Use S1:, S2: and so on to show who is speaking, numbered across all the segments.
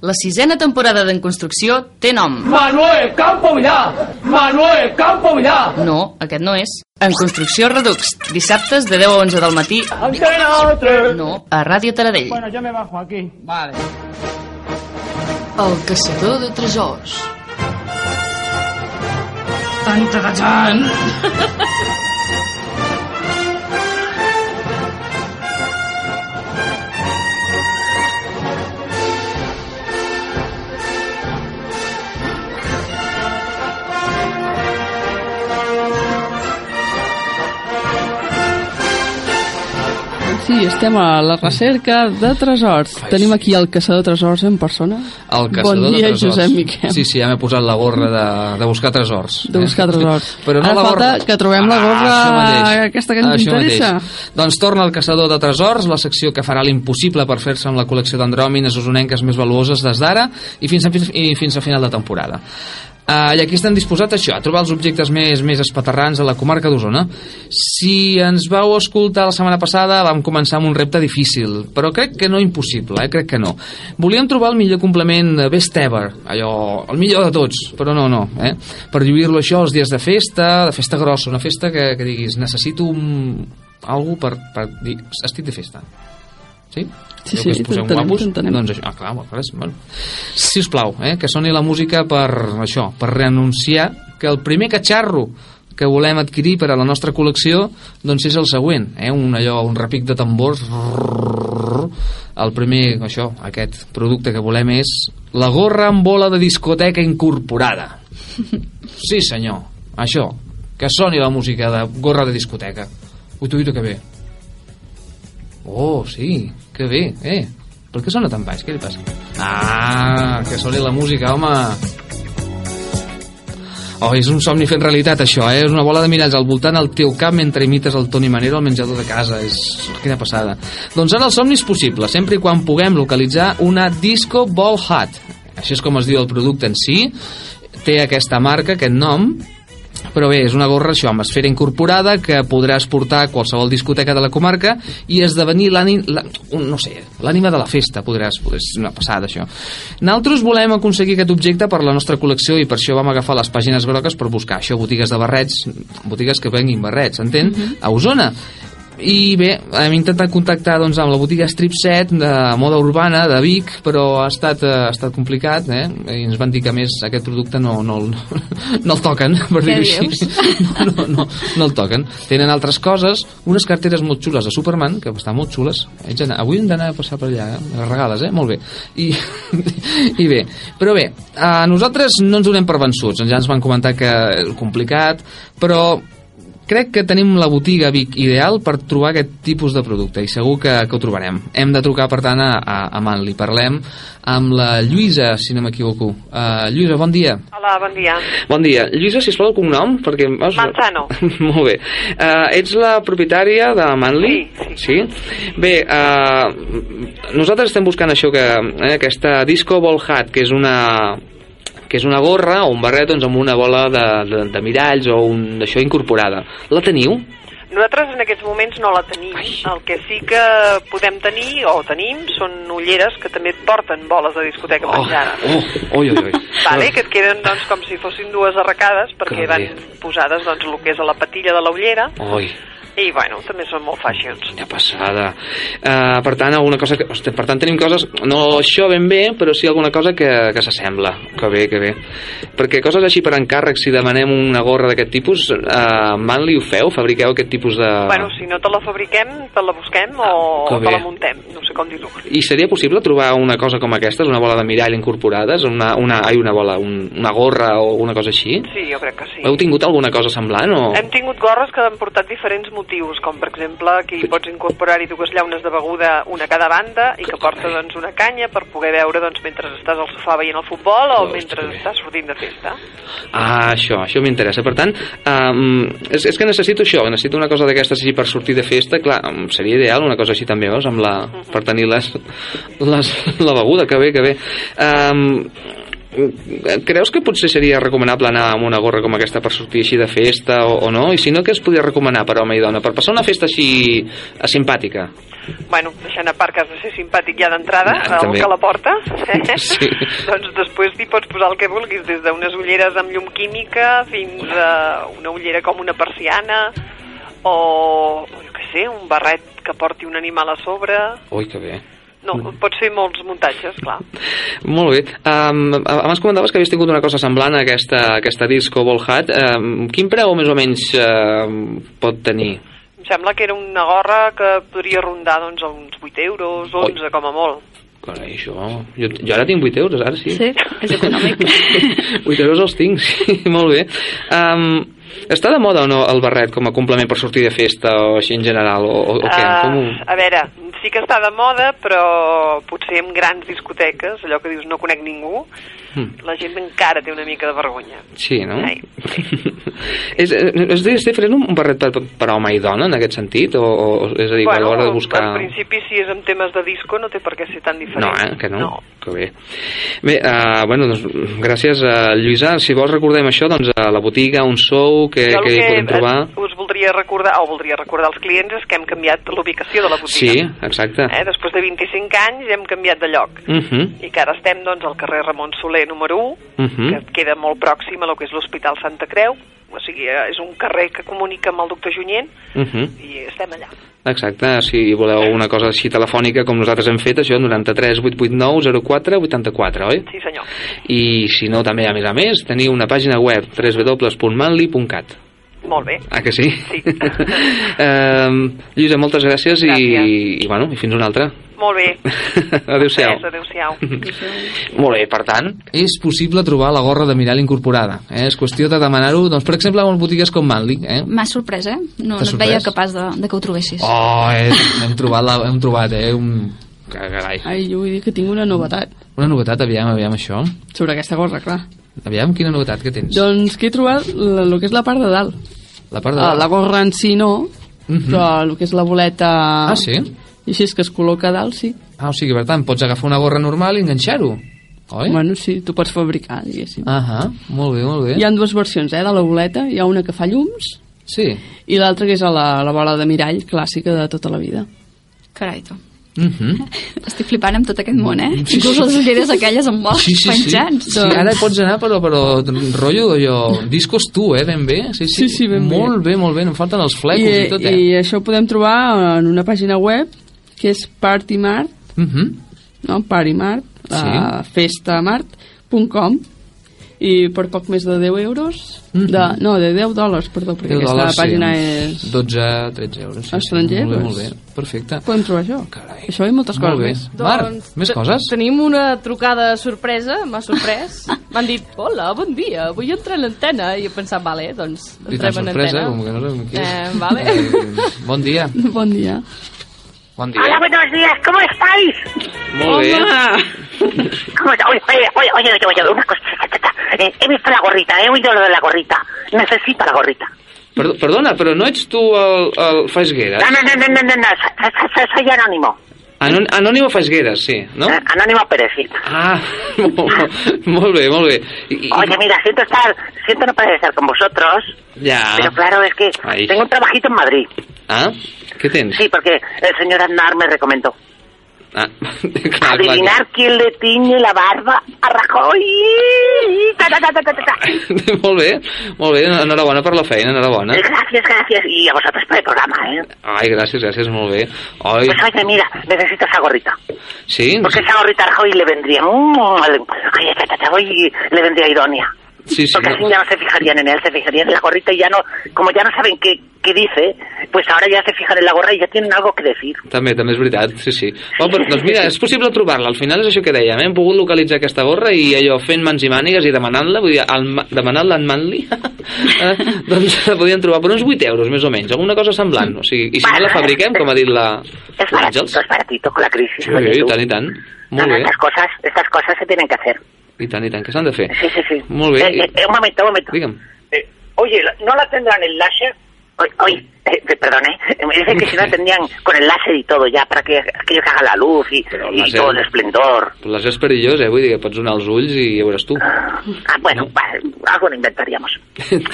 S1: La sisena temporada d'En Construcció té nom.
S2: Manuel Campo Villar! Manuel Campo Villar!
S1: No, aquest no és. En Construcció Redux, dissabtes de 10 a 11 del matí.
S2: Antena 3!
S1: No, a Ràdio Taradell.
S2: Bueno, yo me bajo aquí.
S1: Vale. El caçador de tresors. Tan, tan, tan.
S3: Sí, estem a la recerca de tresors. Tenim aquí el caçador de tresors en persona.
S4: El caçador
S3: bon dia,
S4: de tresors.
S3: Josep Miquel.
S4: Sí, sí, ja m'he posat la gorra de, de buscar tresors. Eh?
S3: De buscar tresors.
S4: Però no
S3: Ara
S4: la
S3: falta
S4: gorra... Ah,
S3: que trobem la gorra
S4: això mateix.
S3: aquesta que ens
S4: Això
S3: interessa.
S4: Mateix. Doncs torna el caçador de tresors, la secció que farà l'impossible per fer-se amb la col·lecció d'andròmines usonenques més valuoses des d'ara i fins a, i fins a final de temporada. Uh, I aquí estan disposats a això, a trobar els objectes més més espaterrans a la comarca d'Osona. Si ens vau escoltar la setmana passada, vam començar amb un repte difícil, però crec que no impossible, eh? crec que no. Volíem trobar el millor complement eh, best ever, allò, el millor de tots, però no, no. Eh? Per lluir-lo això els dies de festa, de festa grossa, una festa que, que diguis, necessito un... algú per, per dir, estic de festa. Sí?
S3: Sí,
S4: Veieu
S3: sí,
S4: que us poseu
S3: t'entenem,
S4: guapos?
S3: t'entenem.
S4: Doncs això, ah, clar, bueno, res, bueno. Si us plau, eh, que soni la música per això, per renunciar que el primer catxarro que volem adquirir per a la nostra col·lecció doncs és el següent, eh? un, allò, un repic de tambors rrrr. el primer, això, aquest producte que volem és la gorra amb bola de discoteca incorporada sí senyor, això que soni la música de gorra de discoteca uituito que bé Oh, sí, que bé, eh? Per què sona tan baix? Què li passa? Ah, que soni la música, home! Oh, és un somni fent realitat, això, eh? És una bola de miralls al voltant al teu cap mentre imites el Toni Manero al menjador de casa. És... Quina passada. Doncs ara el somni és possible, sempre i quan puguem localitzar una Disco Ball Hat. Així és com es diu el producte en si. Té aquesta marca, aquest nom, però bé, és una gorra, això, amb esfera incorporada que podràs portar a qualsevol discoteca de la comarca i esdevenir l'ànim... la- un- No sé, l'ànima de la festa, podràs... És una passada, això. Nosaltres volem aconseguir aquest objecte per la nostra col·lecció i per això vam agafar les pàgines grogues per buscar això, botigues de barrets, botigues que venguin barrets, s'entén? A Osona. I bé, hem intentat contactar doncs, amb la botiga Strip 7 de moda urbana de Vic, però ha estat, eh, ha estat complicat, eh? I ens van dir que a més aquest producte no, no, el, no el toquen, per dir-ho així. No, no, no, no el toquen. Tenen altres coses, unes carteres molt xules de Superman, que estan molt xules. Haig d'anar- Avui hem d'anar a passar per allà, eh? Me les regales, eh? Molt bé. I, i bé, però bé, a nosaltres no ens donem per vençuts, ja ens van comentar que és complicat, però Crec que tenim la botiga Vic ideal per trobar aquest tipus de producte i segur que, que ho trobarem. Hem de trucar, per tant, a, a, a Manli. Parlem amb la Lluïsa, si no m'equivoco. Uh, Lluïsa, bon dia.
S5: Hola, bon dia.
S4: Bon dia. Lluïsa, sisplau, el cognom, perquè... Has...
S5: Manzano.
S4: Molt bé. Uh, ets la propietària de Manli?
S5: Sí,
S4: sí. sí? Bé, uh, nosaltres estem buscant això que... Eh, aquesta Disco Ball Hat, que és una que és una gorra o un barret doncs, amb una bola de, de, de miralls o un d'això incorporada. La teniu?
S5: Nosaltres en aquests moments no la tenim. El que sí que podem tenir, o tenim, són ulleres que també porten boles de discoteca oh. penjades.
S4: oh, oi, oi, oi.
S5: Vale, que et queden doncs, com si fossin dues arracades perquè
S4: Que
S5: van
S4: bé.
S5: posades doncs, el que és a la patilla de la ullera
S4: Oi,
S5: i bueno, també són molt fashions.
S4: quina passada. Uh, per tant, alguna cosa que... Hosti, per tant, tenim coses... No això ben bé, però sí alguna cosa que, que s'assembla. Que bé, que bé. Perquè coses així per encàrrec, si demanem una gorra d'aquest tipus, uh, Manli ho feu? Fabriqueu aquest tipus de...
S5: Bueno, si no te la fabriquem, te la busquem o
S4: Ah. que
S5: te
S4: bé.
S5: la muntem, no sé com dir-ho.
S4: I seria possible trobar una cosa com aquesta, una bola de mirall incorporades, una, una, ai, una bola, un, una gorra o una cosa així?
S5: Sí, jo crec que sí.
S4: Heu tingut alguna cosa semblant o...?
S5: Hem tingut gorres que han portat diferents motius, com per exemple que hi pots incorporar-hi dues llaunes de beguda, una a cada banda, i que porta doncs, una canya per poder veure doncs, mentre estàs al sofà veient el futbol o
S4: Oh,
S5: mentre
S4: que bé.
S5: estàs sortint de festa.
S4: Ah, això, això m'interessa. Per tant, um, és, és que necessito això, necessito una cosa d'aquestes així per sortir de festa, clar, em seria ideal una cosa així també, veus, amb la, per tenir les, les, la beguda, que bé, que bé. Um, creus que potser seria recomanable anar amb una gorra com aquesta per sortir així de festa o, o no? I si no, què es podria recomanar per home i dona? Per passar una festa així eh, simpàtica?
S5: Bueno, deixant a part que has de ser simpàtic ja d'entrada, no,
S4: Ah,
S5: el
S4: també.
S5: que la porta, eh?
S4: Sí.
S5: doncs després t'hi pots posar el que vulguis, des d'unes ulleres amb llum química fins a una ullera com una persiana, o, jo què sé, un barret que porti un animal a sobre...
S4: Ui, que bé.
S5: No,
S4: Mm.
S5: pot ser molts muntatges, clar.
S4: Molt bé. Um, abans comentaves que havies tingut una cosa semblant a aquesta, a aquesta disco Ball Hat. Um, quin preu més o menys uh, pot tenir?
S5: Em sembla que era una gorra que podria rondar doncs, a uns 8 euros, 11 com a molt.
S4: Carai, això... Jo, jo ara tinc 8 euros, ara sí.
S6: Sí, és econòmic.
S4: 8 euros els tinc, sí, molt bé. Um, està de moda o no el barret com a complement per sortir de festa o així en general? O, o, o què?
S5: Ah,
S4: Com ho...
S5: a veure, sí que està de moda, però potser en grans discoteques, allò que dius no conec ningú,
S4: Hmm.
S5: la gent encara té una mica de vergonya.
S4: Sí, no?
S5: Ai,
S4: és, eh, és, és diferent un barret per, per home i dona en aquest sentit? O, o és a dir, a l'hora de buscar...
S5: en principi, si és en temes de disco, no té per què ser tan diferent.
S4: No, eh? Que no?
S5: No.
S4: Que bé. Bé, uh, bueno, doncs, gràcies, a Lluïsa. Si vols recordem això, doncs a la botiga, on sou, que,
S5: Jo el
S4: que hi
S5: eh,
S4: podem trobar...
S5: us voldria recordar, o voldria recordar als clients, és que hem canviat l'ubicació de la
S4: Sí,
S5: botiga.
S4: exacte.
S5: Eh? Després de 25 anys hem canviat de lloc.
S4: Uh -huh,
S5: I que ara estem doncs, al carrer Ramon Soler número 1,
S4: uh -huh.
S5: que queda molt pròxim a lo que és l'Hospital Santa Creu, o sigui, eh, és un carrer que comunica amb el doctor Junyent
S4: Uh -huh.
S5: i estem allà.
S4: Exacte, si voleu una cosa així telefònica com nosaltres hem fet, això, 93 889 04 84, oi?
S5: Sí, senyor.
S4: I si no, també, a més a més, teniu una pàgina web, www.manly.cat.
S5: Molt bé.
S4: Ah, que sí?
S5: Sí.
S4: eh, Lluïsa, moltes gràcies, I,
S5: Gràcies.
S4: i, bueno, i fins una altra.
S5: Molt bé.
S4: Adéu-siau.
S5: Res, Adéu-siau.
S4: Molt bé, per tant, és possible trobar la gorra de mirall incorporada. Eh? És qüestió de demanar-ho, doncs, per exemple, en botigues com Manly. Eh?
S6: M'ha sorprès, eh? No, no
S4: T'ha
S6: et veia
S4: sorprès?
S6: capaç de, de que ho trobessis.
S4: Oh, eh, hem trobat, la, hem trobat eh, un... Carai.
S3: Ai, jo vull dir que tinc una novetat
S4: Una novetat, aviam, aviam això.
S3: sobre aquesta gorra, clar.
S4: Aviam, quina novetat que tens.
S3: Doncs que he trobat el que és la part de dalt.
S4: La part de Mhm.
S3: Ah, la gorra en si no, però el que és la boleta...
S4: Ah, sí?
S3: I així és que es col·loca a dalt, sí.
S4: Ah, o sigui, per tant, pots agafar una gorra normal i enganxar-ho, oi?
S3: Bueno, sí, tu pots fabricar, diguéssim.
S4: Ahà, molt bé, molt bé.
S3: Hi han dues versions, eh, de la boleta. Hi ha una que fa llums
S4: Sí.
S3: i l'altra que és a la, la bola de mirall clàssica de tota la vida.
S6: Carai, tu.
S4: Mhm.
S6: Estic flipant amb tot aquest món, eh? Inclús les ulleres aquelles amb bols
S4: Mm, Sí, sí, sí.
S6: penjants.
S4: sí.
S3: doncs.
S4: Ara pots anar, però, però rotllo d'allò... Discos tu, eh, ben bé. Sí,
S3: Sí,
S4: sí,
S3: sí, ben bé.
S4: molt bé. molt bé, em falten els flecos i, tot, eh?
S3: I això ho podem trobar en una pàgina web que és partymart,
S4: I... Uh -huh.
S3: no? partymart, sí. uh,
S4: Sí.
S3: festamart.com i per poc més de 10 euros de, no, de 10 dòlars, perdó perquè
S4: 10
S3: aquesta
S4: Mm-hmm. dòlars,
S3: pàgina
S4: sí,
S3: és...
S4: uns 12, 13 euros. Sí,
S3: Estranger,
S4: sí, molt bé,
S3: doncs.
S4: molt bé. Perfecte.
S3: podem trobar això
S4: Carai.
S3: això i moltes
S4: Molt
S3: coses
S4: bé.
S3: més
S4: Marc,
S7: Doncs,
S4: més
S7: te-
S4: coses?
S7: Tenim una trucada sorpresa, m'ha sorprès. M'han dit, hola, bon dia, vull entrar en antena. I he pensat, vale, doncs
S4: I tan
S7: entrem en
S4: sorpresa,
S7: antena.
S4: com que no sabem qui és.
S7: Eh, vale.
S4: Eh, bon dia.
S3: bon dia
S4: Bon dia. Hola,
S8: Buenos días, ¿cómo estáis?
S4: molt bé.
S8: ¿Cómo está? Oye, oye, oye, oye, oye, oye, una cosa. ta, ta, ta. Eh, he visto la gorrita, he oído lo de la gorrita. Necesito la gorrita.
S4: Perdó, perdona, però no ets tu el, el Faisgueres?
S8: No, no, no, no, no, no, no, so- so- so- soy anónimo.
S4: Anón, Anònimo Faisgueres, sí, no?
S8: Eh, Anónimo Pérez, sí.
S4: Ah, molt, molt bé, molt bé. I, i-
S8: Oye, mira, siento estar, siento no poder estar con vosotros,
S4: ja.
S8: pero claro, es que
S4: Ay.
S8: tengo un trabajito en Madrid.
S4: Ah, què tens?
S8: Sí, porque el señor Aznar me recomendó.
S4: Ah, clar,
S8: Adivinar quién le tiñe la barba a Rajoy. Ta, ta, ta, ta, ta, ta.
S4: clar. molt bé, molt bé, enhorabona per la feina, enhorabona.
S8: Eh, Gracias, gracias. Y a vosotros por el programa, ¿eh?
S4: Ai, gràcies, gràcies, molt bé. Ai,
S8: Pues oye, mira, necesito esa gorrita.
S4: sí?
S8: Porque esa gorrita a Rajoy le vendría. mm, le- Ay, esta, esta, esta, hoy le vendría idónea.
S4: Sí, sí.
S8: Porque así ya no se fijarían en él, se fijarían en la gorrita y ya no, como ya no saben qué, qué dice, pues ahora ya se fijan en la gorra y ya tienen algo que decir.
S4: També, també és veritat, sí, sí. Bon, però, doncs mira, és possible trobar-la. Al final és això que dèiem, eh? hem pogut localitzar aquesta gorra i allò fent mans i mànigues i demanant-la, vull dir, el, ma- demanant-la en Manly, eh? doncs la podíem trobar per uns 8 euros, més o menys, alguna cosa semblant. O sigui, I si no la fabriquem, com ha dit la...
S8: Es baratito, es baratito con la crisis.
S4: Pues Sí,
S8: oye,
S4: i
S8: tú.
S4: tant, i tant.
S8: No,
S4: Molt
S8: no,
S4: bé,
S8: estas cosas, estas cosas se tienen que hacer.
S4: i tant, i tant, que s'han de fer.
S8: Sí, sí, sí.
S4: Molt bé.
S8: Eh, eh, eh, un momento, un momento. Eh,
S4: Digue'm.
S8: Oye, ¿no la tendrán el láser? Oye, eh, perdón, ¿eh? Me dice que si la tendrían con el láser y todo ya, para que aquello que haga la luz y,
S4: el
S8: y
S4: láser-
S8: todo el esplendor.
S4: Però la és perillós, eh? Vull dir que pots donar els ulls i ja veuràs tu.
S8: Ah, bueno, vale, algo lo inventaríamos.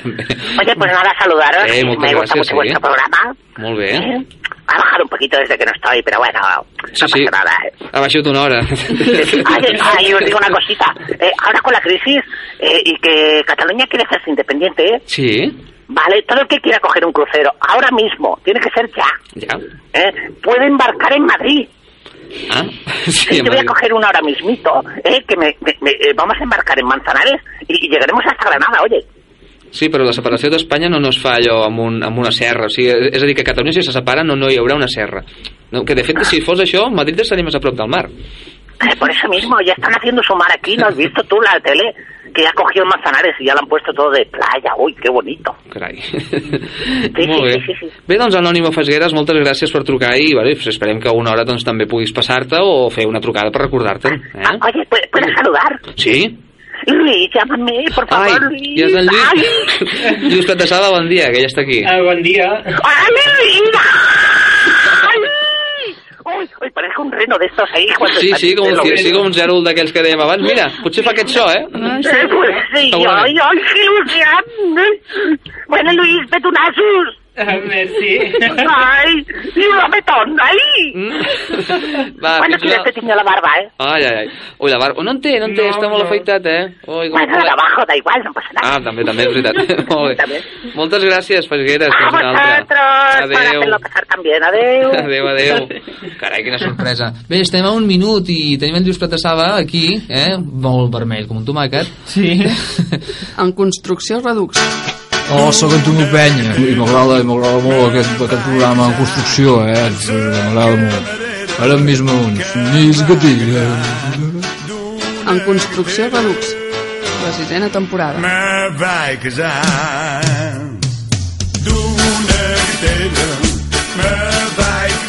S8: Oye, pues nada, saludaros.
S4: Eh,
S8: Me
S4: muchas
S8: gusta
S4: gracias,
S8: mucho
S4: sí.
S8: vuestro programa.
S4: Molt bé.
S8: Eh, Ha bajado un poquito desde que no estoy, pero bueno,
S4: Sí, sí.
S8: eh.
S4: Ha baixat una hora.
S8: Ah, Ay, ay, os digo una cosita. Eh, ahora con la crisis eh, y que Cataluña quiere hacerse independiente, ¿eh?
S4: Sí,
S8: Vale, todo el que quiera coger un crucero, ahora mismo, tiene que ser ya,
S4: ja.
S8: ¿eh? Puede embarcar en Madrid.
S4: Ah, sí,
S8: Eh, yo voy a
S4: Madrid.
S8: coger uno ahora mismito, ¿eh? Que me, me- me- eh, vamos a embarcar en Manzanares y, y llegaremos hasta Granada, oye.
S4: Sí, però la separació d'Espanya no, no es fa allò amb, un, amb una serra. O sigui, és a dir, que Catalunya si se separa no, no hi haurà una serra. No, que de fet, si fos això, Madrid estaria més a prop del mar.
S8: Eh, Por eso mismo, ya están haciendo su mar aquí, ¿no has visto tú la tele? Que ya ha cogido Manzanares y ya lo han puesto todo de playa, uy, qué bonito.
S4: Carai.
S8: Sí,
S4: Molt
S8: sí,
S4: bé.
S8: sí, sí, sí.
S4: Bé, doncs, Anònimo Fasgueres, moltes gràcies per trucar i bueno, pues, esperem que a una hora doncs, també puguis passar-te o fer una trucada per recordar-te.
S8: Ah,
S4: Eh?
S8: oye, ¿puedes, puedes saludar?
S4: Sí?
S8: Luis, llámame, por
S4: Ai,
S8: favor, Luis.
S4: ja és en
S8: Ay.
S4: Lluís. Lluís Patassada, bon dia, que ja està aquí.
S8: Ah,
S9: bon dia.
S8: ¡Hola, Luis! ¡Ay! Uy, uy, parece un reno de estos ahí. cuando
S4: Sí,
S8: están-
S4: sí, com,
S8: de
S4: un-
S8: los-
S4: sí, com un zero d'aquells que dèiem abans. Mira, potser fa aquest so, eh?
S8: Eh, pues sí, ay,
S4: Segurament.
S8: ay, qué ilusión. Bueno, Luis, ve tu nasus.
S9: Sí.
S8: Ay, llévame ton, ay.
S4: Mm. Va,
S8: bueno,
S4: fins
S8: que ya
S4: una-
S8: te tiñó Ah, la barba, ¿eh?
S4: Ai, ai, ai. Ui, la barba... No en té, no en té,
S8: No,
S4: està molt
S8: no.
S4: afeitat, eh? Ui, com
S8: Bueno, de abajo da igual, no pasa nada.
S4: Ah, també, també, és veritat. molt bé.
S8: També.
S4: Moltes gràcies, Fasgueres.
S8: A
S4: Fins una altra.
S8: vosotros, para
S4: Adéu.
S8: hacerlo pasar también. Adeu.
S4: Adéu, adéu. Carai, quina sorpresa. Bé, estem a un minut i tenim en Lluís Platassava aquí, eh? Molt vermell, com un tomàquet. Sí.
S3: En construcció redux.
S10: Oh, sóc Antonio Penya. I m'agrada, i m'agrada molt aquest, aquest programa en construcció, eh? M'agrada molt. Ara mismo uns nis gatillos.
S3: En construcció redux. La sisena temporada.
S11: Mij zijn. Doe een telen, me wijk